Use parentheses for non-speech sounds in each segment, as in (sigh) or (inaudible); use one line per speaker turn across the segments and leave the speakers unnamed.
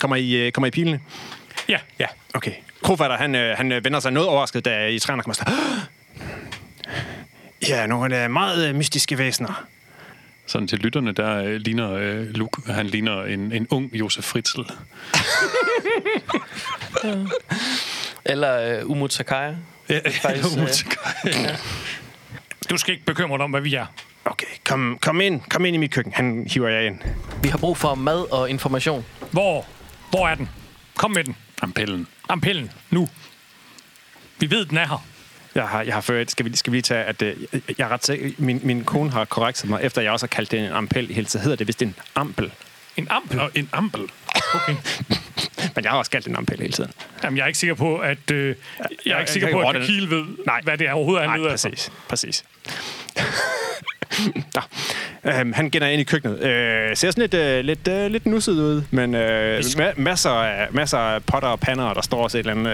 Kommer I, øh, kommer I pilene?
Ja, ja.
Okay. Krofatter, han, øh, han øh, vender sig noget overrasket, da I træner kommer sådan, (gasps) Ja, nogle øh, meget øh, mystiske væsener.
Sådan til lytterne, der øh, ligner øh, Luke, han ligner en, en ung Josef Fritzl.
Eller øh, Umut Sakaya.
(laughs)
Ja,
Faktisk,
eller Umotika.
Du skal ikke bekymre dig om, hvad vi er.
Okay, kom, kom ind. Kom ind i mit køkken. Han hiver jer ind.
Vi har brug for mad og information.
Hvor, hvor er den? Kom med den.
Ampellen.
Ampellen. Nu. Vi ved, den er her.
Jeg har, jeg har ført, skal vi, skal vi lige tage, at øh, jeg, jeg er ret sikker, min, min kone har korrekset mig, efter jeg også har kaldt det en ampel hele tiden. Hedder det vist en ampel?
En ampel.
Og en ampel.
Okay.
Men jeg har også kaldt det en ampel hele tiden.
Jamen, jeg er ikke sikker på, at... Øh, jeg er
jeg
ikke sikker
kan
på,
godt-
at Kiel ved,
Nej.
Nej. hvad det er altså. overhovedet, han
Nej,
leder
præcis. præcis. (laughs) Nå. Øhm, han gænder ind i køkkenet. Øh, ser sådan lidt, øh, lidt, øh, lidt nusset ud, men øh, ma- masser, af, masser af potter og pander, og der står også et eller andet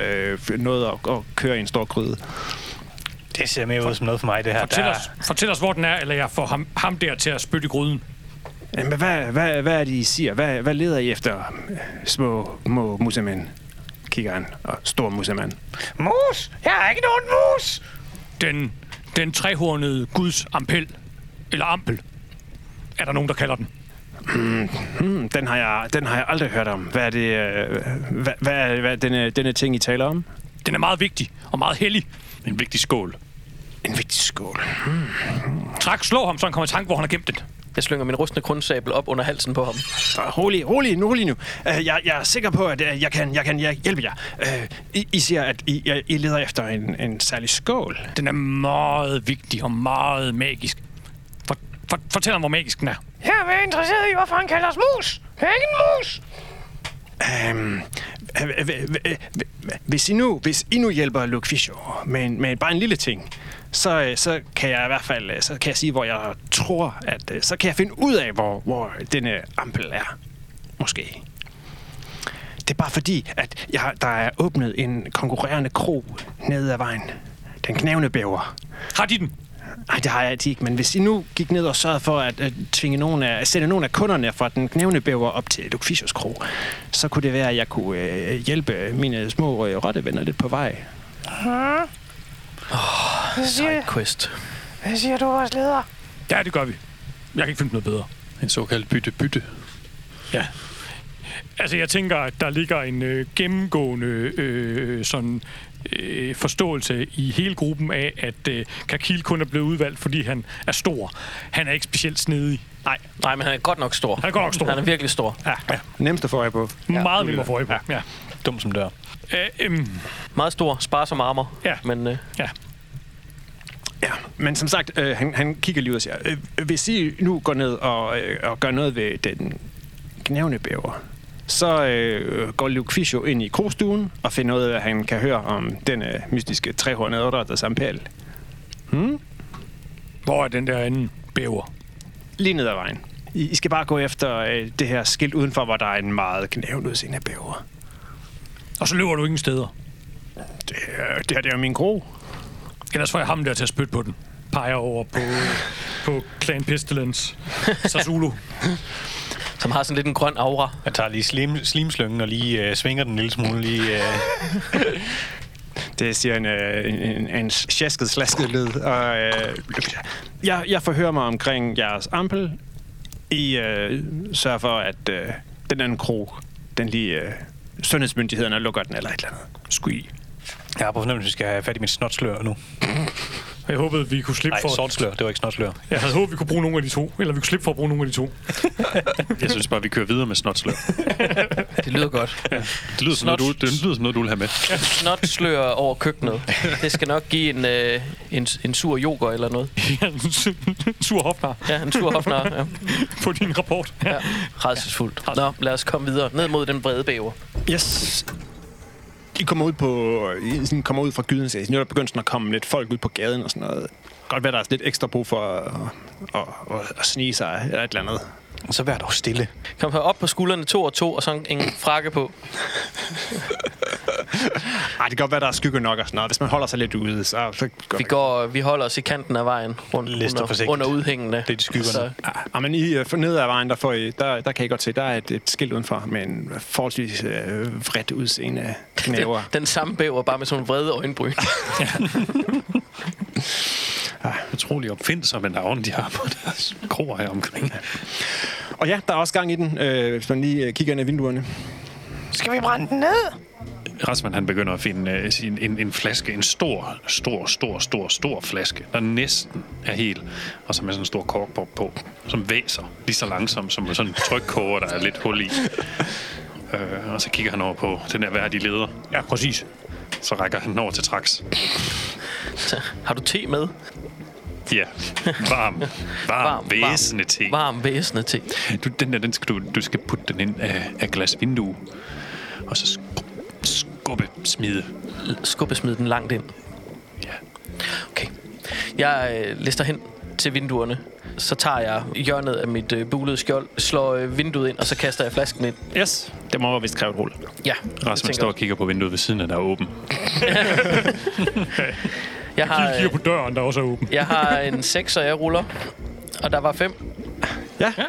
øh, noget at, at køre i en stor gryde.
Det ser mere ud som noget for mig, det her.
Fortæl,
Der-
os, fortæl os, hvor den er, eller jeg får ham, ham der til at spytte i gryden.
Jamen, hvad, hvad, hvad er det, I siger? Hvad, hvad leder I efter, øh, små må musemænd? Kigger han. Og stor musemand.
Mus! Jeg har ikke nogen mus!
Den, den trehornede guds ampel. Eller ampel. Er der nogen, der kalder den?
Hmm, den, har jeg, den har jeg aldrig hørt om. Hvad er det, øh, hvad, hvad, er- hvad er denne, denne ting, I taler om?
Den er meget vigtig og meget hellig.
En vigtig skål.
En vigtig skål.
Træk, slå ham, så han kommer i tanke, hvor han har gemt den.
Jeg slynger min rustne grundsabel op under halsen på ham.
Så Ah, rolig, rolig, nu, rolig nu. Uh, jeg, jeg er sikker på, at uh, jeg kan, jeg kan jeg hjælpe jer. Uh, I, I siger, at I, I- I leder efter en, en særlig skål.
Den er meget vigtig og meget magisk. For, for, fortæl ham, hvor magisk den er.
Jeg er interesseret i, hvorfor han kalder os mus. Jeg er ikke en mus.
Um, øh, hvis, I nu, hvis I nu hjælper Luke Fischer med, med bare en lille ting, så, øh, så kan jeg i hvert fald øh, så kan jeg sige, hvor jeg tror, at øh, så kan jeg finde ud af, hvor, hvor denne ampel er. Måske. Det er bare fordi, at jeg, der er åbnet en konkurrerende kro nede ad vejen. Den knævne bæver.
Har de den?
Nej, det har jeg ikke, men hvis I nu gik ned og sørgede for at, at tvinge nogen af, at sende nogle af kunderne fra den knævne bæver op til Luke Fischers kro, så kunne det være, at jeg kunne øh, hjælpe mine små øh, rottevenner lidt på vej.
Sidequest.
Hvad siger du, vores leder?
Ja, det gør vi. Jeg kan ikke finde noget bedre.
En såkaldt bytte-bytte.
Ja. Altså, jeg tænker, at der ligger en øh, gennemgående øh, sådan, øh, forståelse i hele gruppen af, at øh, Kakil kun er blevet udvalgt, fordi han er stor. Han er ikke specielt snedig.
Nej. Nej, men han er godt nok stor.
Han er godt nok stor.
Han er virkelig stor.
Ja, ja.
Nemmest at få øje på.
ja. Meget nemmere for øje Ja.
Dum som dør.
Øh, øhm,
Meget stor, sparsom armor.
Ja.
Men øh,
ja.
Ja, men som sagt, øh, han, han kigger lige ud og siger, øh, hvis I nu går ned og, øh, og gør noget ved den knævne bæver, så øh, går Luke Fischer ind i krogstuen og finder ud af, at han kan høre om den øh, mystiske trehåndede otter, ampel.
Hvor er den der anden bæver?
lige ned ad vejen. I, I skal bare gå efter øh, det her skilt udenfor, hvor der er en meget knævende udseende bæver.
Og så løber du ingen steder.
Det, er- det her det er jo min gro.
Ellers får jeg ham der til at spytte på den. Peger over på, på Clan Pestilence. Så Zulu.
som har sådan lidt en grøn aura.
Jeg tager lige slim, slimslyngen og lige øh, svinger den en lille smule. Lige, øh.
Det siger en, øh, en, en, en sjasket, slasket lyd. Og, øh, jeg, jeg forhører mig omkring jeres ampel. I øh, sørger for, at øh, den anden krog, den lige øh, sundhedsmyndighederne lukker den eller et eller andet.
Skui.
Jeg har på fornemmelse, at vi skal have fat i mit snotslør nu.
Jeg håbede, vi kunne slippe
Nej,
for...
sortslør. Det var ikke snotslør.
Jeg havde håbet, vi kunne bruge nogle af de to. Eller vi kunne slippe for at bruge nogle af de to. (laughs)
Jeg synes bare, vi kører videre med snotslør.
Det lyder godt.
Det lyder, som noget, du, det lyder som noget, du vil have med.
Snot slør over køkkenet. Det skal nok give en, øh, en, en sur yoghurt eller noget.
Sur hofnar
Ja, en sur hofnar. Ja.
på din rapport.
Ja. Redselsfuldt. Nå, lad os komme videre. Ned mod den brede bæver.
Yes. I kommer ud, på, øh, I sådan kommer ud fra gyden, så nu er der begyndt sådan at komme lidt folk ud på gaden og sådan noget. Godt være, der er lidt ekstra brug for at, at, at, at snige sig eller et eller andet.
Så vær dog stille.
Kom her op på skuldrene to og to, og så en frakke på.
Ej, det kan godt være, der er skygge nok og sådan noget. Hvis man holder sig lidt ude, så... så
Vi, går, vi holder os i kanten af vejen rundt
Lister
under,
forsigtigt.
under udhængene. Altså,
Det er de skyggerne.
Ja, men I øh, for ned ad vejen, der, får I, der, der kan I godt se, der er et, et skilt udenfor med en forholdsvis øh, vredt udseende af knæver.
den, den samme bæver, bare med sådan nogle vrede øjenbryn. (laughs)
Utrolig opfindsomme navne, de har på deres kroer her omkring.
Og ja, der er også gang i den, øh, hvis man lige øh, kigger ind ad vinduerne.
Skal vi brænde den ned?
Rasmus, han begynder at finde uh, sin, en, en flaske, en stor, stor, stor, stor, stor flaske, der næsten er hel, og så med sådan en stor korkbog på, som væser lige så langsomt som sådan en trykkoger, der er lidt hul i. Uh, og så kigger han over på den her værdige leder,
Ja, præcis.
så rækker han den over til Trax.
Har du te med?
Ja, varm, varm,
varm.
væsende te.
Varm væsende te.
Du, den der, den skal du, du skal putte den ind af, af glasvindue, og så skubbe, skubbe smide.
Skubbe smid den langt ind.
Ja.
Okay. Jeg øh, lister hen til vinduerne. Så tager jeg hjørnet af mit øh, bulede skjold, slår øh, vinduet ind, og så kaster jeg flasken ind.
Yes, det må vist kræve et rulle.
Ja,
Rasmus
jeg,
står og
tænker,
kigger på vinduet ved siden af, der er åben.
jeg, har,
Kig kigger
øh,
på døren, der også er åben.
jeg har en 6, og jeg ruller. Og der var 5.
Ja. ja.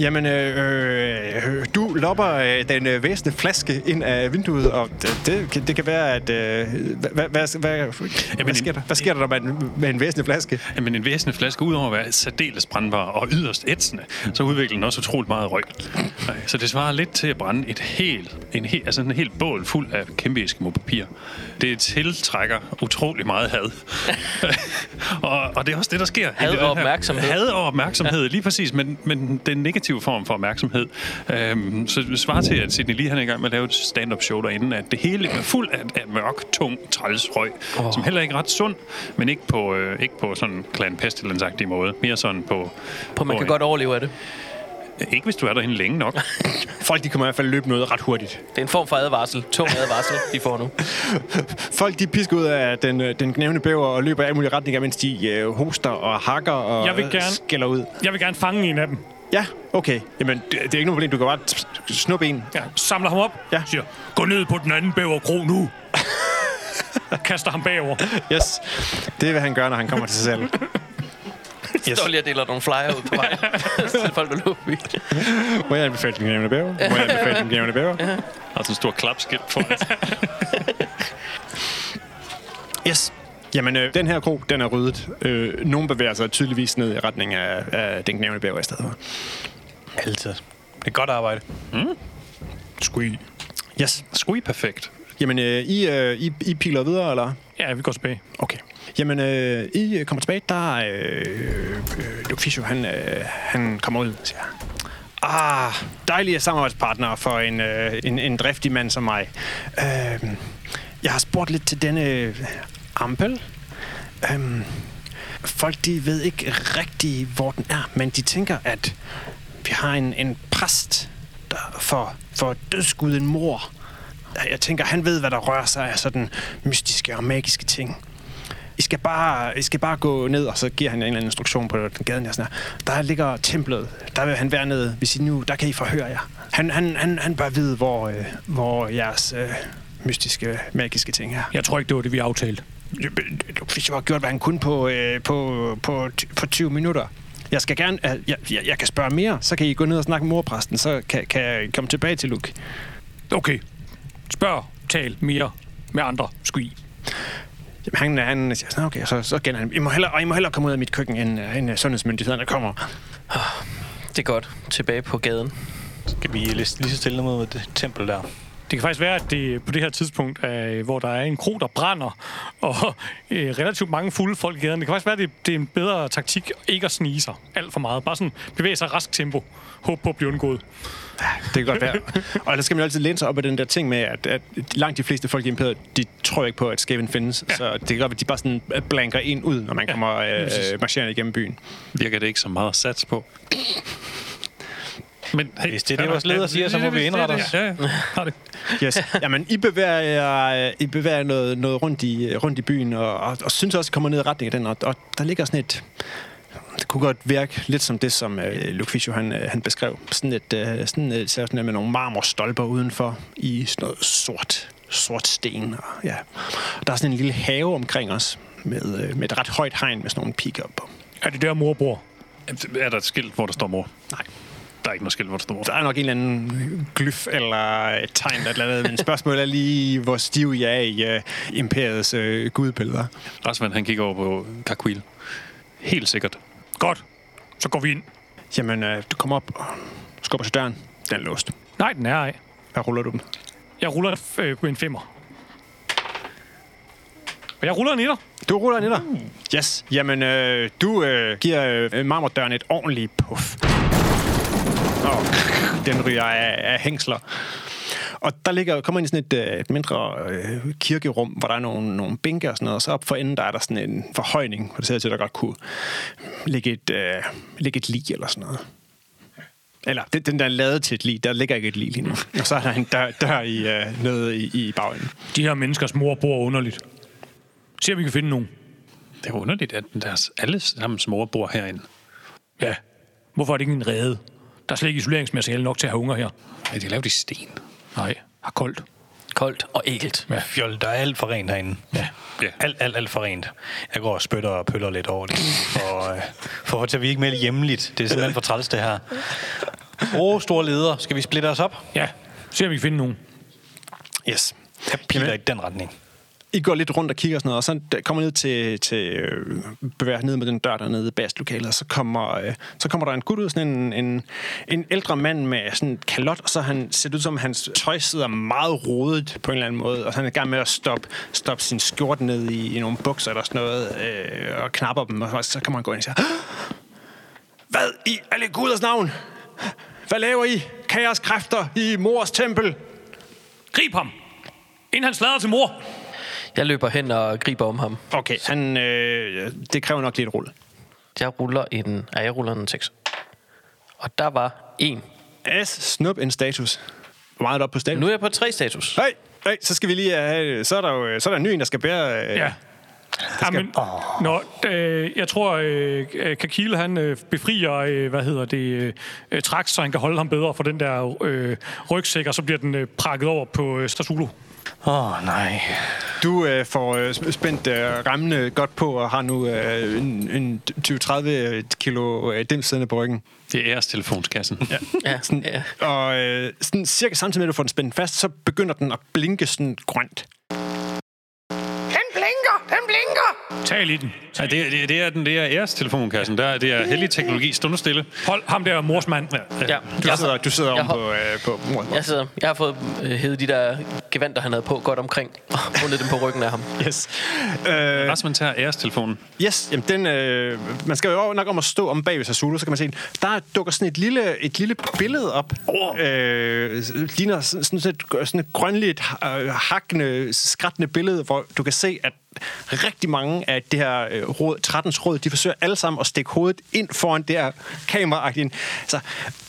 Jamen, øh, øh, du lopper øh, den øh, væsende flaske ind af vinduet, og det, det, kan- det kan være, at... Øh, hvad, hvad, hvad, hvad, hvad, sker der? hvad sker der med en, med en væsende flaske?
Jamen, en væsentlig flaske, udover at være særdeles brandbar og yderst ætsende, så udvikler den også utroligt meget røg. Nej, Så det svarer lidt til at brænde et helt, en hel, altså en helt bål fuld af kæmpe eskimo-papir. Det tiltrækker utrolig meget
(laughs)
had. og, og, det er også det, der sker.
Had
Det er den
og
her-
opmærksomhed.
Had og opmærksomhed, ja. lige præcis, men, men den negative form for opmærksomhed. Øhm, så det svarer til, at Sidney lige han er i gang med at lave et stand-up show derinde, at det hele er fuld af, af mørk, tung trælsrøg, oh. som heller ikke er ret sund, men ikke på, øh, ikke på sådan klan pestilens måde. Mere sådan på...
På man kan
på-
godt overleve af det.
Ikke hvis du er derinde længe nok.
Folk, de kommer i hvert fald løbende ud ret hurtigt.
Det er en form for advarsel. Tung advarsel, de får nu.
Folk, de pisker ud af den, øh, den knævende bæver og løber i alle mulige retninger, mens de øh, hoster og hakker og
Jeg vil gerne-
skælder ud.
Jeg vil gerne fange en af dem.
Ja, okay. Jamen, det, det er ikke noget problem. Du kan bare t- snuppe en.
Ja, samler ham op.
Ja.
Siger, gå ned på den anden bæverkro nu. Kaster ham bagover.
Yes. Det vil han gøre, når han kommer til sig selv.
Yes. (laughs) Står lige og deler nogle flyer ud på vejen. (laughs) så folk vil løbe i.
Må jeg anbefale den knævende bæver? Må jeg anbefale den knævende bæver?
Og sådan Altså en stor klapskilt foran.
Yes. Jamen, øh, den her krog, den er ryddet. Øh, nogen bevæger sig tydeligvis ned i retning af, af den knævende bæver i stedet for.
Altid. Det er godt arbejde.
Skui.
Yes.
Skui perfekt.
Jamen, øh, I, øh, I, I piler videre, eller?
Ja, vi går tilbage.
Okay. Jamen, øh, I øh, kommer tilbage, der er... Øh, øh, Luke Fischer, han, øh, han kommer ud, siger han. Ah, dejlige samarbejdspartnere for en, øh, en, en driftig mand som mig. Øh, jeg har spurgt lidt til denne øh, ampel. Øh, folk, de ved ikke rigtig, hvor den er, men de tænker, at vi har en, en præst der for, for dødsguden mor. Jeg tænker, han ved, hvad der rører sig af sådan mystiske og magiske ting. I skal, bare, I skal bare gå ned, og så giver han jer en eller anden instruktion på den gaden. Og sådan her. Der ligger templet. Der vil han være nede. Hvis I nu, der kan I forhøre jer. Han, han, han, han bør vide, hvor, øh, hvor jeres øh, mystiske, magiske ting er.
Jeg tror ikke, det var det, vi aftalte.
Hvis jeg har gjort, hvad han kunne på, øh, på, på, ty- på 20 minutter. Jeg skal gerne... øh, Jeg, jeg, jeg kan spørge mere. Så kan I gå ned og snakke med morpræsten. Så kan, kan I komme tilbage til Luke.
Okay. Spørg, tal mere med andre. Skui.
Jamen, han, han siger, "Nå, okay, så, så kender han. I må hellere, og I må hellere komme ud af mit køkken, end, øh, end øh, sundhedsmyndighederne kommer.
Det er godt. Tilbage på gaden.
Skal vi liste lige så stille mod det tempel der?
Det kan faktisk være, at det på det her tidspunkt, er, øh, hvor der er en kro, der brænder, (laughs) og øh, relativt mange fulde folk i gaden, det kan faktisk være, at det, det er en bedre taktik ikke at snige sig alt for meget. Bare sådan bevæge sig i rask tempo. Håb på at blive undgået.
Det kan godt være. og der skal man jo altid læne sig op af den der ting med, at, at langt de fleste folk i imperiet, de tror ikke på, at skæven findes. Ja. Så det kan godt være, at de bare sådan blanker en ud, når man kommer ja, øh, marcherende igennem byen.
Virker det ikke så meget at satse på? Men hey,
Hvis det er det, vores leder siger, så må vi indrette os.
Ja, ja. Har det.
Yes. Jamen, I bevæger jer, I bevæger jer noget, noget rundt, i, øh, rundt i byen, og, og, og synes også, at I kommer ned i retning af den, og, og der ligger sådan et... Det kunne godt virke lidt som det, som øh, Luke Fischer, han, øh, han beskrev. Sådan et, øh, sådan et, sådan et med nogle marmorstolper udenfor i sådan noget sort sort sten. Og, ja. Der er sådan en lille have omkring os, med, øh, med et ret højt hegn med sådan nogle pigge op på.
Er det der, mor bor?
Er der et skilt, hvor der står mor?
Nej.
Der er ikke noget skilt, hvor der står mor.
Der er nok en eller anden glyf eller et tegn eller et eller andet, men spørgsmålet er lige, hvor stiv jeg er i øh, imperiets øh, gudbilleder.
Rasmus, han kigger over på Kakuil. Helt sikkert.
Godt. Så går vi ind.
Jamen, øh, du kommer op og skubber til døren. Den er låst.
Nej, den er ej.
Hvad ruller du den?
Jeg ruller øh, på en femmer. Og jeg ruller en etter.
Du ruller den etter. Mm. Yes. Jamen, øh, du øh, giver øh, marmordøren et ordentligt puff. Og (laughs) den ryger af, af hængsler. Og der ligger, kommer ind i sådan et øh, mindre øh, kirkerum, hvor der er nogle, nogle bænke og sådan noget, og så op for enden, der er der sådan en forhøjning, hvor det ser til, at der godt kunne ligge et, øh, ligge et lig eller sådan noget. Eller den, den der er lavet til et lig, der ligger ikke et lig lige nu. Og så er der en dør, dør i, øh, nede i, i bagenden.
De her menneskers mor bor underligt. Se, om vi kan finde nogen.
Det er underligt, at deres alle sammen mor bor herinde.
Ja. Hvorfor er det ikke en rede? Der er slet ikke isoleringsmateriale nok til at have unger her.
Ja, de er lavet i sten.
Nej, har koldt.
Koldt og ægelt.
Fjol, der er alt for rent herinde. Ja.
Ja.
Alt, alt, alt for rent. Jeg går og spytter og pøller lidt over det. For, øh, for at vi ikke med hjemligt. Det er simpelthen for træls, det her. Åh, store leder. Skal vi splitte os op?
Ja, se om vi kan finde nogen.
Yes.
Jeg piler i den retning.
I går lidt rundt og kigger og sådan noget, og så kommer I ned til, til øh, bevæger jer ned med den dør dernede i baslokalet, og så kommer, øh, så kommer der en gut ud, sådan en, en, en ældre mand med sådan en kalot, og så han ser det ud som, hans tøj sidder meget rodet på en eller anden måde, og så er han i gang med at stoppe, stoppe sin skjort ned i, i nogle bukser eller sådan noget, øh, og knapper dem, og så kommer han gå ind og siger, "Hå! Hvad i alle guders navn? Hvad laver I? Kaoskræfter i mors tempel?
Grib ham! Inden han slader til mor!
Jeg løber hen og griber om ham.
Okay, han, øh, det kræver nok lidt rulle.
Jeg ruller en... Ja, jeg ruller en 6. Og der var en.
As, snup en status. Hvor meget er du oppe på status?
Nu er jeg på tre status.
Hey, hey, så skal vi lige øh, have... Så er der jo så er der en ny en, der skal bære... øh,
Ja. Skal... Jamen, oh. nå, øh, jeg tror, øh, øh, Kakil han øh, befrier, øh, hvad hedder det, øh, øh, Trax, så han kan holde ham bedre for den der øh, rygsæk, og så bliver den øh, prakket over på øh, Strasulo.
Åh, oh, nej.
Du øh, får øh, sp- spændt øh, rammene godt på og har nu øh, en, en 20-30 kilo øh, dims siddende på ryggen.
Det er jeres telefonskassen. Ja.
(laughs) Ja,
Sådan,
ja.
Og øh, sådan, cirka samtidig med, at du får den spændt fast, så begynder den at blinke sådan grønt.
Den blinker! Den blinker!
Tal i den.
Ja, det, er- det, er- det, er den, det er jeres telefonkassen. Der, er- det er heldig teknologi. Stående stille.
Hold ham der morsmand. Ja.
ja.
Du
Jeg,
sidder, du sidder
jeg
om
har-
på, øh, på mordet.
jeg, sidder, jeg har fået øh, hævet de der gevanter, han havde på godt omkring, og bundet dem på ryggen (laughs) af ham.
Yes. Øh,
Rasmus tager jeres telefonen.
Yes, jamen den, øh, man skal jo nok om at stå om bag ved Sassulo, så kan man se, en- der dukker sådan et lille, et lille billede op. Oh. Øh, ligner sådan, sådan, sådan, et, sådan et grønligt, øh, hakkende, skrættende billede, hvor du kan se, at rigtig mange af det her øh, råd, 13's råd, de forsøger alle sammen at stikke hovedet ind foran det her kameraagtigt. Så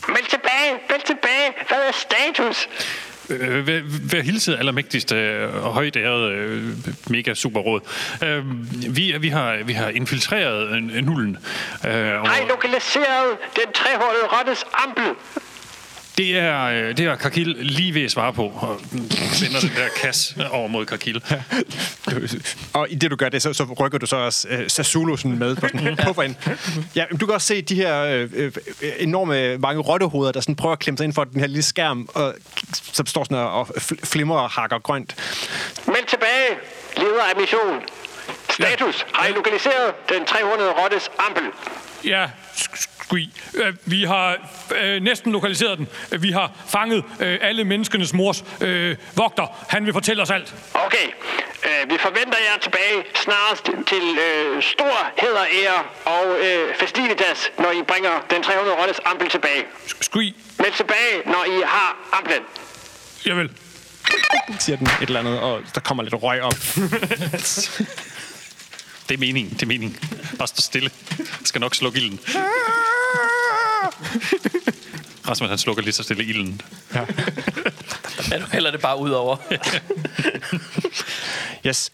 Vend tilbage! Vend tilbage! Hvad er status?
Øh, Vær, vær hilset allermægtigst øh, og højt æret øh, mega super råd. Øh, vi, er- vi, har, vi har infiltreret øh, nullen. Øh, og
Har I lokaliseret den trehårede rottes ampel?
det er, øh, det er Kakil lige ved at svare på. Og sender den der kasse over mod Kakil.
(laughs) Og i det, du gør det, så, så rykker du så også øh, Sassulo sådan med på sådan, puffer ind. Ja, men du kan også se de her øh, øh, enorme mange rottehoveder, der sådan prøver at klemme sig ind for den her lille skærm, og, som står sådan og, og fl- flimrer og hakker grønt.
Meld tilbage! Leder af mission. Status. Har I lokaliseret den 300 rottes ampel?
Ja, sk- skui. Øh, Vi har øh, næsten lokaliseret den. Vi har fanget øh, alle menneskenes mors øh, vogter. Han vil fortælle os alt.
Okay. Øh, vi forventer jer tilbage snarest til øh, stor heder, ære og øh, festivitas, når I bringer den 300 rottes ampel tilbage.
Sk- Skui.
Meld tilbage, når I har amplen.
Jeg vil.
Siger den et eller andet, og der kommer lidt røg op.
Det er meningen, det er meningen. Bare stå stille. Jeg skal nok slukke (laughs) ilden. Rasmus, han slukker lige så stille ilden.
Ja, nu hælder det bare ud over.
Yes.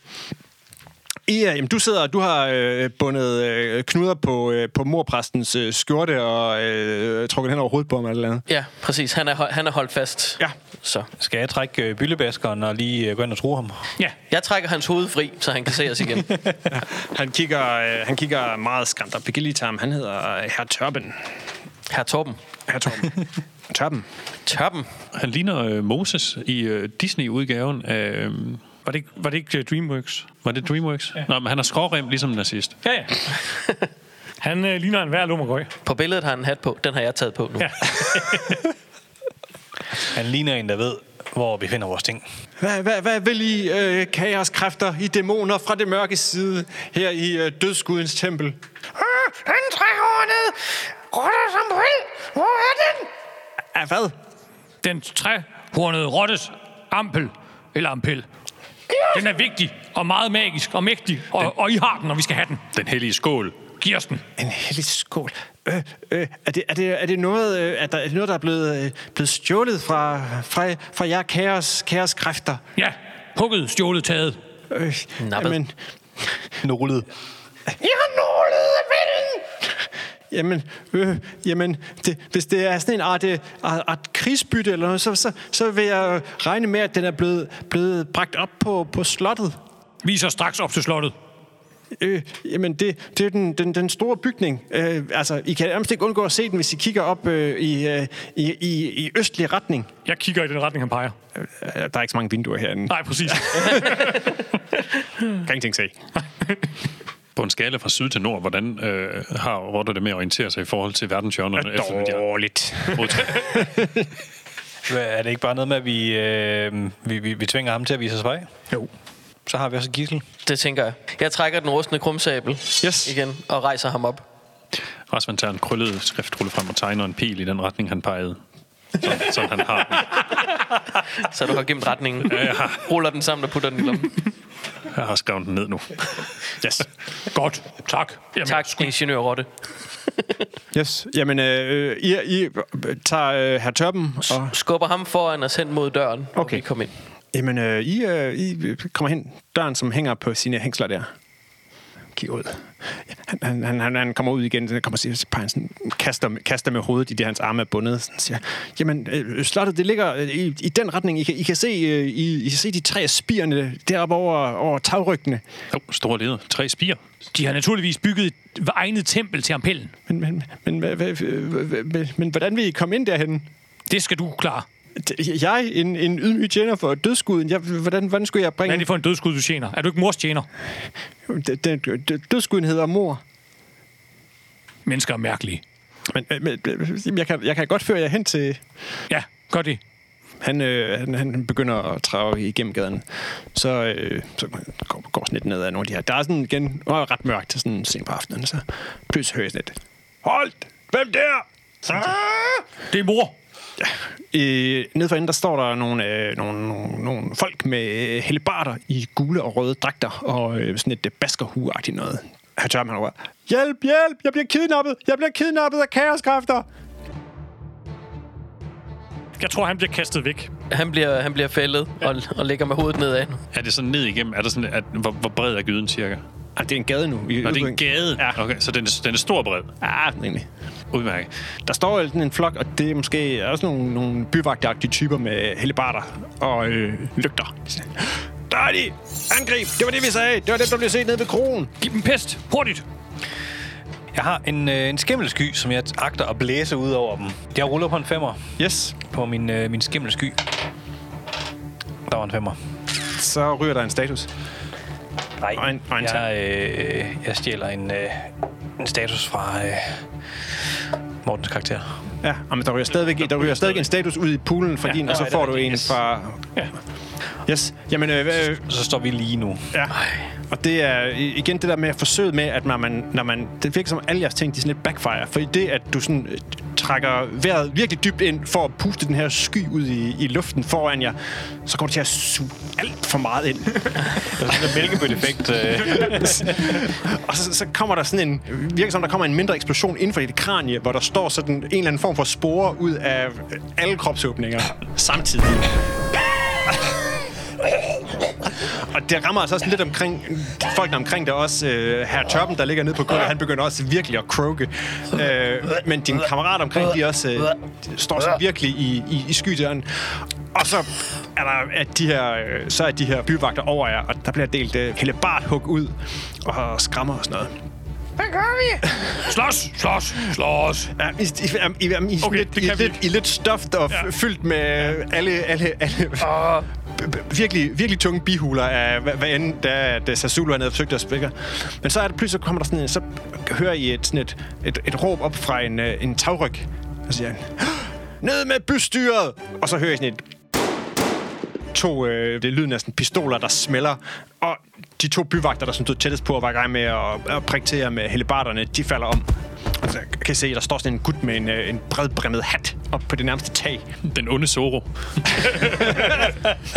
Ea, jamen, du sidder, og du har øh, bundet øh, knuder på, øh, på morpræstens øh, skjorte og øh, trukket hen over hovedet på ham eller et eller andet.
Ja, præcis. Han er, hol- han er holdt fast.
Ja.
Så.
Skal jeg trække øh, byllebaskeren og lige øh, gå ind og tro ham?
Ja,
Jeg trækker hans hoved fri, så han kan se os (laughs) igen.
Han kigger, øh, han kigger meget skræmt op. Vi kan lige tage ham. Han hedder øh, Herr Tørben.
Her Torben.
Herr (laughs) Torben. Tørben.
Tørben.
Han ligner øh, Moses i øh, Disney-udgaven af... Øh,
var det, ikke- var det ikke øh, DreamWorks?
var det DreamWorks? Ja. Nej, men han har skrårem ligesom en nazist.
Ja, ja. Han øh, ligner en værd lummergøj.
På billedet har han en hat på. Den har jeg taget på nu.
Ja.
Han ligner en, der ved, hvor vi finder vores ting.
Hvad, hvad, hvad vil I øh, kaoskræfter, I dæmoner fra det mørke side, her i øh, dødsgudens tempel?
Øh, den træhårede rotter som vil. Hvor er den?
Ja, hvad?
Den træhornede rottes ampel, eller ampel. Den er vigtig og meget magisk og mægtig, og, og I har den, og vi skal have den.
Den hellige skål.
Giv os den.
En hellig skål. Øh, øh, er, det, er, det, er, det noget, øh, er, der, er det noget, der er blevet, øh, blevet stjålet fra, fra, fra jer kaos, kaoskræfter?
Ja, hugget, stjålet, taget.
Øh,
Nappet.
jamen,
Nullet.
I har nålet af vilden.
Jamen, øh, jamen det, hvis det er sådan en art, øh, art, art krigsbytte eller noget, så, så, så vil jeg øh, regne med, at den er blevet, blevet bragt op på, på slottet.
Vi er så straks op til slottet.
Øh, jamen, det, det er den, den, den store bygning. Øh, altså, I kan nærmest ikke undgå at se den, hvis I kigger op øh, i, øh, i, i, i østlig retning.
Jeg kigger i den retning, han peger.
Øh, der er ikke så mange vinduer herinde.
Nej, præcis.
(laughs) Kan ingenting se.
På en skala fra syd til nord, hvordan øh, har rotter det med at orientere sig i forhold til verdenshjørnerne? efter at de har
Dårligt.
modtaget-
Hvad, Er det ikke bare noget med, at vi, øh, vi, vi, vi tvinger ham til at vise os vej?
jo.
Så har vi også et gissel.
Det tænker jeg. Jeg trækker den rustende krumsabel
Yes.
igen og rejser ham op.
Rasmus tager en krøllet skriftrulle frem og tegner en pil i den retning, han pegede. Som, som han har den.
Så du har gemt retningen. Ruller den sammen og putter den i lommen.
Jeg har skrevet den ned (laughs) nu.
Yes.
Godt. Tak. Jamen,
(laughs) Tak, ingeniør Rotte.
Yes. Jamen, øh, I, I tager øh, herr Tørben og...
Skubber ham foran og hen mod døren, okay. og
Okay.
vi kommer ind.
Jamen, øh, I, øh, I kommer hen. Døren, som hænger på sine hængsler der. Kig ud. Han, han, han, han- han kommer ud igen, så kommer og peger sådan, kaster, kaster med hovedet i det, hans arme er bundet. Sådan siger, jamen, øh, slottet, det ligger øh, i, i den retning. I kan, I kan, se, øh, I, I kan se de tre af spirene deroppe over, over tagrygtene.
Jo, store leder. Tre spiger.
De har naturligvis bygget et egnet tempel til ampellen.
Men, men, men, hvad- hvad- hvad- hvad- men, men hvordan vil I komme ind derhen?
Det skal du klare.
Jeg, en, en ydmyg tjener for dødskuden, jeg, hvordan, hvordan skulle jeg
Hvad
bringe...
er det for en dødskud, du tjener? Er du ikke mors tjener?
det? Den, den, dødskuden hedder mor.
Mennesker er mærkelige.
Men, men- men jeg, kan, jeg kan godt føre jer hen til...
Ja, gør det.
Han, øh, han, han begynder at trage igennem gaden. Så, øh, så går, går sådan lidt ned ad nogle af de her. Der er sådan igen nu er det ret mørkt til sådan sent på aftenen, så pludselig hører jeg sådan lidt. Hold! Hvem der? Ah!
Det er mor.
Øh, nede for enden, der står der nogle, øh, nogle, nogle, nogle folk med øh, hellebarder i gule og røde dragter og øh, sådan et øh, baskerhueagtigt noget. Her tør man over. Hjælp, hjælp! Jeg bliver kidnappet! Jeg bliver kidnappet af kaoskræfter!
Jeg tror, han bliver kastet væk.
Han bliver, han bliver fældet ja. og, og ligger med hovedet nedad.
Er det sådan ned igennem? Er der sådan, at, hvor, hvor bred er gyden cirka?
Ah, det er en gade nu.
Nå, det er en gade.
Ja.
Okay, så den er, den er stor og bred.
Ah, egentlig.
Udmærket.
Der står jo sådan en flok, og det er måske også nogle, nogle byvagtagtige typer med hellebarter og øh, lygter. Der er de! Angrib! Det var det, vi sagde! Det var det, der blev set nede ved kronen!
Giv dem pest. Hurtigt.
Jeg har en, øh, en skimmelsky, som jeg agter at blæse ud over dem. Jeg ruller på en femmer
Yes,
på min, øh, min skimmelsky. Der var en femmer.
så ryger der en status.
Nej,
Og en- og en
jeg, øh, jeg stjæler en, øh, en status fra øh, Mortens karakter.
Ja, og men der ryger stadigvæk, der ryger stadigvæk en status ud i poolen fra ja, din, og så
nej, det
får
er
du
rigtigt.
en
Yes.
fra... Ja. Yes, jamen... Øh, øh,
Så står vi lige nu.
ja. Og det er i- igen det der med forsøget med, at når man, når man, det virker som alle jeres ting, de sådan lidt backfire. For i det, at du sådan øh, trækker vejret virkelig dybt ind for at puste den her sky ud i, i luften foran jer, så kommer det til at suge alt for meget ind.
Der er sådan en mælkebøt-effekt. Øh.
(laughs) Og så, så kommer der sådan en, virker som der kommer en mindre eksplosion inden for dit kranie, hvor der står sådan en eller anden form for spore ud af øh, alle kropsåbninger samtidig. Og det rammer altså også lidt omkring folkene omkring der også. Øh, Herr Tørpen, der ligger nede på gulvet, han begynder også virkelig at croake. Øh, men din kammerat omkring, de også øh, de står sådan virkelig i, i, i skydøren. Og så er der at de her, øh, så er de her byvagter over jer, og der bliver delt øh, hele bart hug ud og skrammer og sådan noget.
Hvad gør vi?
Slås! Slås! Slås!
Ja, I, I, I, I, I, okay,
Okay,
lidt,
det
I,
kan vi
lidt, I lidt stoft og ja.
Ja.
fyldt med alle, alle, alle b- b- virkelig, virkelig tunge bihuler af, hvad, hvad end da, da Sasulu han havde forsøgt at spække. Men så er det pludselig, så kommer der sådan en, så hører I et, sådan et, et, et råb op fra en, øh, en tagryg. Og siger han, ned med bystyret! Og så hører I sådan et to, øh, det er lyden af sådan pistoler, der smelter, og de to byvagter, der sådan stod tættest på og var i gang med at, at prikke til jer med helibarderne, de falder om. Og så kan I se, der står sådan en gut med en, øh, en bredbrindet hat op på det nærmeste tag.
Den onde Zoro.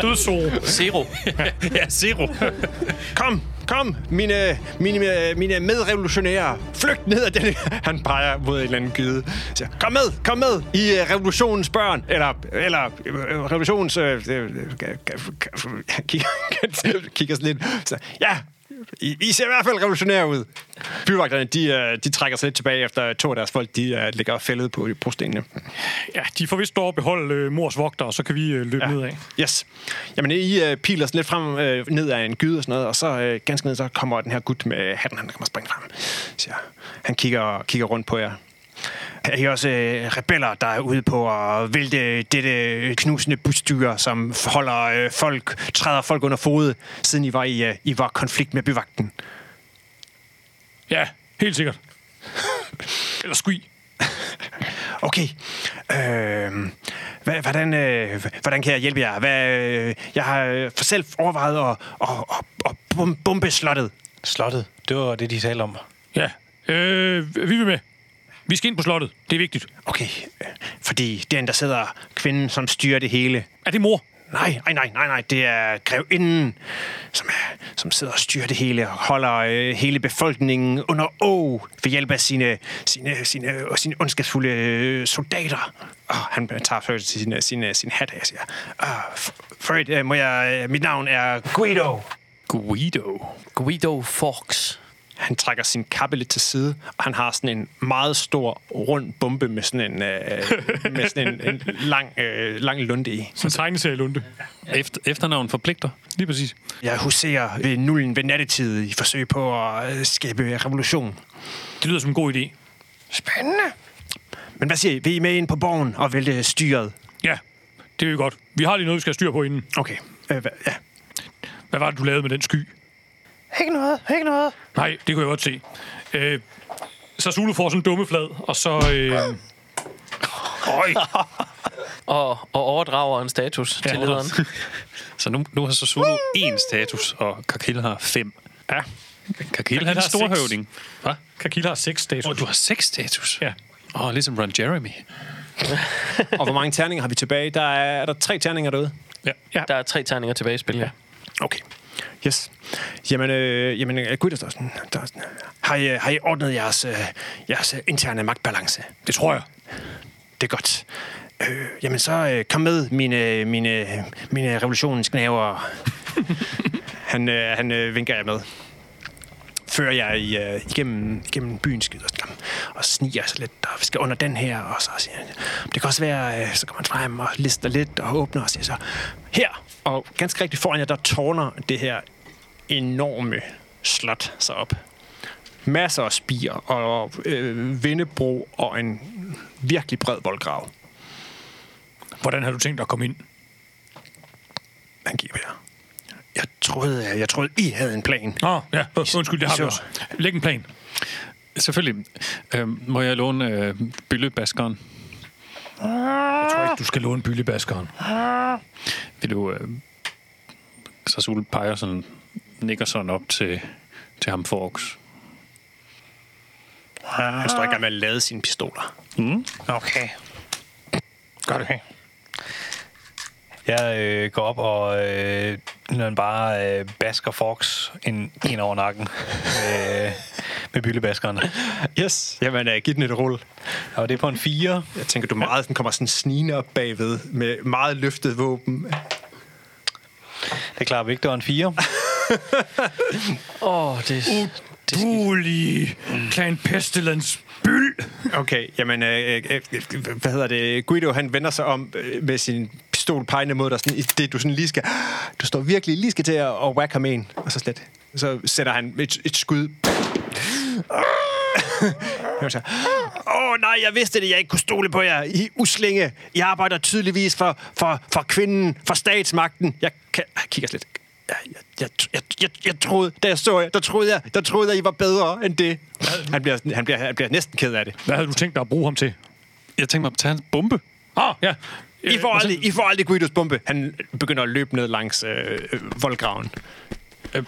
Dødsoro.
Zero.
(laughs) ja, Zero.
Kom, kom, mine, mine, mine medrevolutionære, flygt ned af den (laughs) Han peger mod en eller anden gyde. Så, kom med, kom med i øh, revolutionens børn, eller, eller øh, øh, revolutions... Øh, øh, (laughs) kigger, kigger sådan lidt. Så, ja, I, I ser i hvert fald revolutionære ud. Byvagterne, de, øh, de trækker sig lidt tilbage efter to af deres folk, de øh, ligger fældet på brostenene.
Ja, de får vist lov at beholde øh, mors vogter, og så kan vi øh, løbe ja. nedad.
Yes. Jamen, I øh, piler sådan lidt frem øh, ned af en gyde og sådan noget, og så øh, ganske ned, så kommer den her gut med hatten, han kommer springe frem. Så han kigger, kigger rundt på jer. Er I også øh, rebeller, der er ude på at vælte dette knusende busdyr, som holder øh, folk, træder folk under fod, siden I var i, øh, I var konflikt med byvagten?
Ja, helt sikkert. Eller skvi.
Okay. Øh, hva- hvordan, øh, hvordan kan jeg hjælpe jer? Hvad, øh, jeg har øh, for selv overvejet at, at, at, at bom- bombe slottet.
Slottet, det var det, de talte om.
Ja. Øh, vi vil med. Vi skal ind på slottet. Det er vigtigt.
Okay, øh, fordi den, der sidder kvinden, som styrer det hele.
Er det mor?
Nej, nej, nej, nej, nej. Det er grevinden, som, er, som sidder og styrer det hele og holder øh, hele befolkningen under å ved hjælp af sine, sine, sine, og sine ondskabsfulde øh, soldater. Og han tager først sin, øh, sin, øh, sin hat af og siger, uh, Fred, øh, må jeg, øh, mit navn er Guido.
Guido.
Guido Fox.
Han trækker sin kappe lidt til side, og han har sådan en meget stor, rund bombe med sådan en, øh, med sådan en, en lang, øh, lang lunde i.
Som tegneserie Lunde.
Efter, efternavn forpligter.
Lige præcis.
Jeg huserer ved nullen ved nattetid i forsøg på at øh, skabe revolution.
Det lyder som en god idé.
Spændende.
Men hvad siger I? Vil I med ind på borgen og vælte styret?
Ja, det er jo godt. Vi har lige noget, vi skal have styr på inden.
Okay. Øh, hva- ja.
Hvad var det, du lavede med den sky?
Ikke noget, ikke noget.
Nej, det kunne jeg godt se. Øh, så Zulu får sådan en dumme flad, og så... Øh, Øj,
Og, og overdrager en status ja, til lederen.
Så nu, nu har Sassuolo én status, og Kakil har fem.
Ja.
Kakil, han er
har seks.
storhøvding. Hvad?
Kakila har seks status.
Og du har seks status?
Ja.
Åh, oh, ligesom Ron Jeremy.
Og hvor mange terninger har vi tilbage? Der er, er der tre terninger derude.
Ja.
Der er tre tegninger tilbage i spil, ja.
Okay. Yes. Jamen, øh, jamen øh, gud, der står sådan. Der er sådan. Har, I, øh, har I ordnet jeres, øh, jeres øh, interne magtbalance?
Det tror jeg.
Det er godt. Øh, jamen så øh, kom med, mine, mine, mine revolutionens knæver. han øh, han øh, vinker jer med. Fører jer i, øh, igennem, igennem byen skyder skam, og sniger sig lidt, og vi skal under den her, og så siger han, det kan også være, øh, så kommer han frem og lister lidt og åbner og siger så, her, og ganske rigtigt foran jer, der tårner det her enorme slot sig op masser af spier og øh, vindebro og en virkelig bred voldgrav.
Hvordan har du tænkt dig at komme ind?
Han giver jer. Jeg troede, øh, jeg troede, I havde en plan.
Nå, ja. øh, Undskyld, det har vi
Så-
også. Læg en plan.
Selvfølgelig. Øhm, må jeg låne øh, bøllebaskeren?
Jeg tror ikke, du skal låne byllebaskeren.
Vil du... Øh, Sassuolo peger sådan, nikker sådan op til, til ham Forks.
Han står i gang med at lade sine pistoler.
Okay. Gør det. Okay. Jeg øh, går op og øh, når han bare øh, basker Fox en, en over nakken øh, med byllebaskeren.
Yes. Jamen, uh, giv den et rulle.
Og det er på en 4.
Jeg tænker, du meget sådan kommer sådan snigende op bagved med meget løftet våben.
Det klarer Victor en 4.
Åh, oh, det...
Udulig Klan Pestilens byld.
Okay, jamen, øh, øh, øh, hvad hedder det? Guido, han vender sig om øh, med sin pistol pegende mod dig, sådan, i det du sådan lige skal... Du står virkelig lige skal til at, at whack ham en, og så slet. Så sætter han et, et skud. Åh oh, nej, jeg vidste det, jeg ikke kunne stole på jer. I er uslinge. I arbejder tydeligvis for, for, for kvinden, for statsmagten. Jeg, kan, jeg kigger slet. Jeg, jeg, jeg, jeg, jeg, troede, da jeg så jer, der troede jeg, der troede jeg, I var bedre end det. Han bliver, sådan- han bliver, han bliver næsten ked af det.
Hvad havde du tænkt dig at bruge ham til?
Jeg tænkte mig at tage en bombe.
Ah, ja.
I
Øh,
får
og så-
aldrig, I får aldrig Guidos bombe. Han begynder at løbe ned langs øh, øh, voldgraven.
Øh,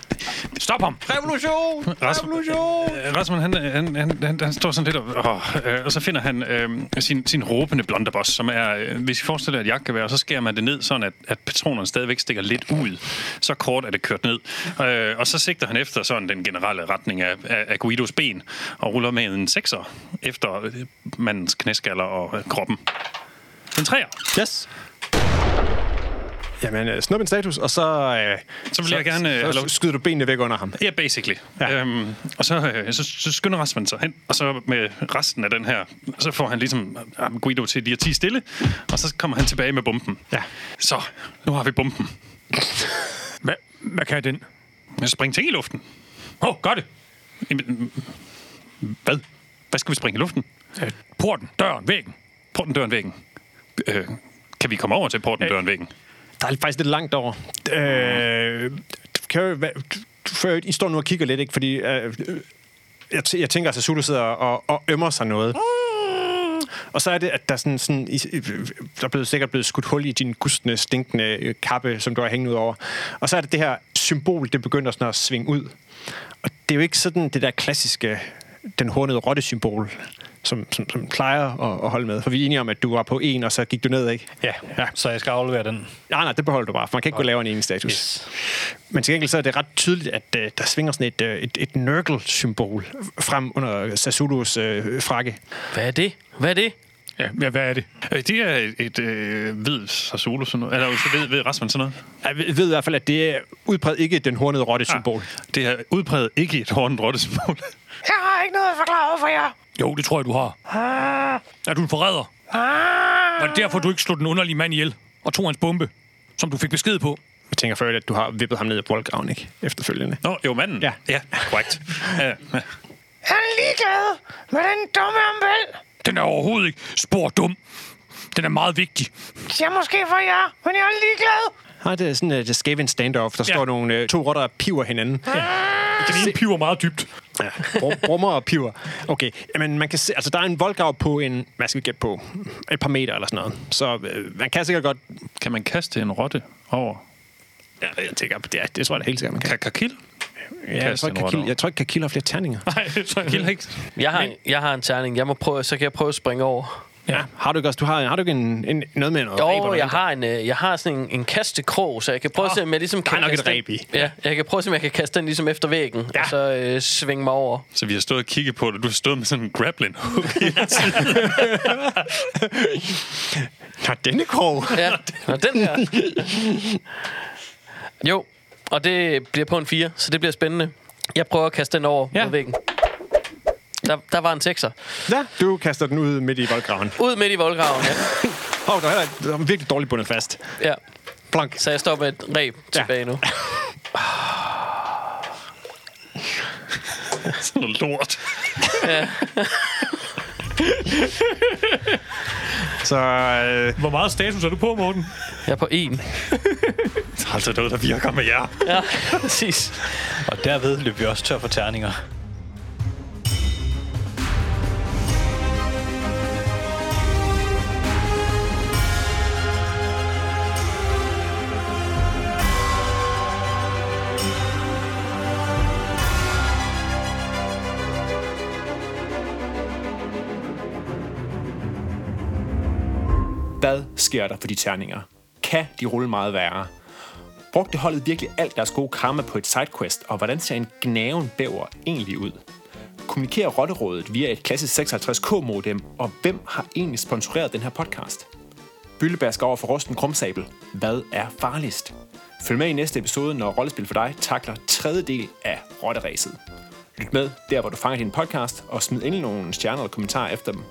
Stop ham.
Revolution! (laughs) Revolution!
Øh, Rasmus, han, han, han, han, han står sådan lidt og... åh, øh, og så finder han øh, sin, sin råbende blunderboss, som er... Øh, hvis I forestiller jer et jakkevær, så skærer man det ned, sådan at, at patronerne stadigvæk stikker lidt ud. Så kort er det kørt ned. Øh, og så sigter han efter sådan den generelle retning af, af, af Guidos ben, og ruller med en sekser efter øh, mandens knæskaller og øh, kroppen. En træer.
Yes. Jamen, øh, snup en status, og så... Øh,
Så vil jeg gerne, øh,
så,
hallo.
så skyder du benene væk under ham.
Ja, basically.
Ja.
Ja. Øhm, og så, øh, så, så skynder Rasmus sig hen, og så med resten af den her, så får han ligesom øh, Guido til lige at tige stille, og så kommer han tilbage med bomben.
Ja.
Så, nu har vi bomben.
Hvad, hvad kan den?
Men spring ting i luften.
Åh, oh, gør det.
Jamen, mm, Hvad? Hvad skal vi springe i luften?
Øh, Porten, døren, væggen.
Porten, døren, væggen. Øh, kan vi komme over til porten, døren, væggen?
Der er faktisk lidt langt over. Øh, kan jo, hvad, for, I står nu og kigger lidt, ikke? Fordi øh, jeg, tæ- jeg tænker, at Zulu sidder og, og ømmer sig noget. Og så er det, at der, er sådan, sådan, i- i- der er blevet, sikkert blevet skudt hul i din gustende, stinkende øh, kappe, som du har hængende ud over. Og så er det det her symbol, det begynder sådan at svinge ud. Og det er jo ikke sådan det der klassiske, den hornede rotte-symbol, som, som, som plejer at, at holde med. For vi er enige om, at du var på en, og så gik du ned, ikke?
Ja, ja, så jeg skal aflevere den.
Nej, nej, det beholder du bare, for man kan ikke gå lavere end en status. Yes. Men til gengæld så er det ret tydeligt, at øh, der svinger sådan et, øh, et, et Nurgle-symbol frem under Sassulos øh, frakke.
Hvad er det? Hvad er det?
Ja, ja, hvad er det?
Øh, det er et, et øh, ved Sassolo sådan noget. Eller så ved, ved Rasmus sådan noget.
Jeg ved ved i hvert fald, at det er udpræget ikke den hornede rotte-symbol. Ah.
Det er udpræget ikke et hårdt rottesymbol.
Jeg har ikke noget at forklare over for jer. Øh,
Jo, det tror jeg, du har. Er du en forræder?
ah,
Var det derfor, du ikke slog den underlige mand ihjel og tog hans bombe, som du fik besked på?
Jeg tænker før, at du har vippet ham ned i voldgraven, ikke? Efterfølgende.
Nå, jo, manden.
Ja.
ja (laughs) korrekt. Ja, ja.
Han er ligeglad med den dumme ombel.
Den er overhovedet ikke spor dum. Den er meget vigtig.
Siger måske for jer, men jeg er ligeglad.
Nej, det er sådan øh, det skæve en standoff. Der ja. står nogle øh, to rotter og piver hinanden. Ja.
Den ene piver meget dybt.
Ja. Brum- Brummer og piver. Okay, men man kan se, altså der er en voldgrav på en, hvad skal vi gætte på, et par meter eller sådan noget. Så øh, man kan sikkert godt,
Kan man kaste en rotte over?
ja, jeg tænker, det, er, det tror jeg da helt sikkert, man kan.
Ka- Kakil?
Ja, jeg,
Kaste
tror ikke,
en rotte
Kakil,
over.
jeg tror ikke, Kakil har flere terninger.
Nej, så
Kakil har ikke...
Jeg har, en, jeg har en terning. Jeg må prøve, så kan jeg prøve at springe over.
Ja. Har du ikke også? Du har, har du ikke en, en, noget med noget?
Jo, jeg har, en, øh, jeg har sådan en, en kastekrog, så jeg kan prøve at se, om jeg ligesom kan
der er nok et
kaste den-
reb i.
Ja, jeg kan prøve at se, om jeg kan kaste den ligesom efter væggen, ja. og så øh, svinge mig
(laughs)
over.
Så vi har stået og kigget på det. Du har stået med sådan en grappling hook.
Nå, denne krog. (laughs)
Ja, og den her. Jo, og det bliver på en 4, så det bliver spændende. Jeg prøver at kaste den over ja. mod væggen. Der, der var en sekser.
Ja. Du kaster den ud midt i voldgraven.
Ud midt i voldgraven, ja.
(laughs) Åh, oh, der, er, der er virkelig dårligt bundet fast.
ja.
Plank.
Så jeg står med et reb tilbage nu.
(laughs) sådan noget lort. (laughs)
Så øh,
Hvor meget status er du på, Morten?
Jeg er på en.
Der er altså noget, der virker med jer.
Ja, præcis.
Og derved løb vi også tør for terninger.
Hvad sker der for de terninger? Kan de rulle meget værre? Brugte holdet virkelig alt deres gode karma på et sidequest, og hvordan ser en gnaven bæver egentlig ud? Kommunikerer Rotterådet via et klassisk 56K-modem, og hvem har egentlig sponsoreret den her podcast? Byllebær skal over for Rosten Krumsabel. Hvad er farligst? Følg med i næste episode, når Rollespil for dig takler tredje del af Rotteræset. Lyt med der, hvor du fanger din podcast, og smid endelig nogle stjerner eller kommentarer efter dem.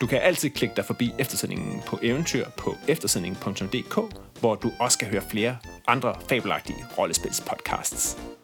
Du kan altid klikke dig forbi eftersendningen på eventyr på eftersendningen.dk, hvor du også kan høre flere andre fabelagtige rollespilspodcasts.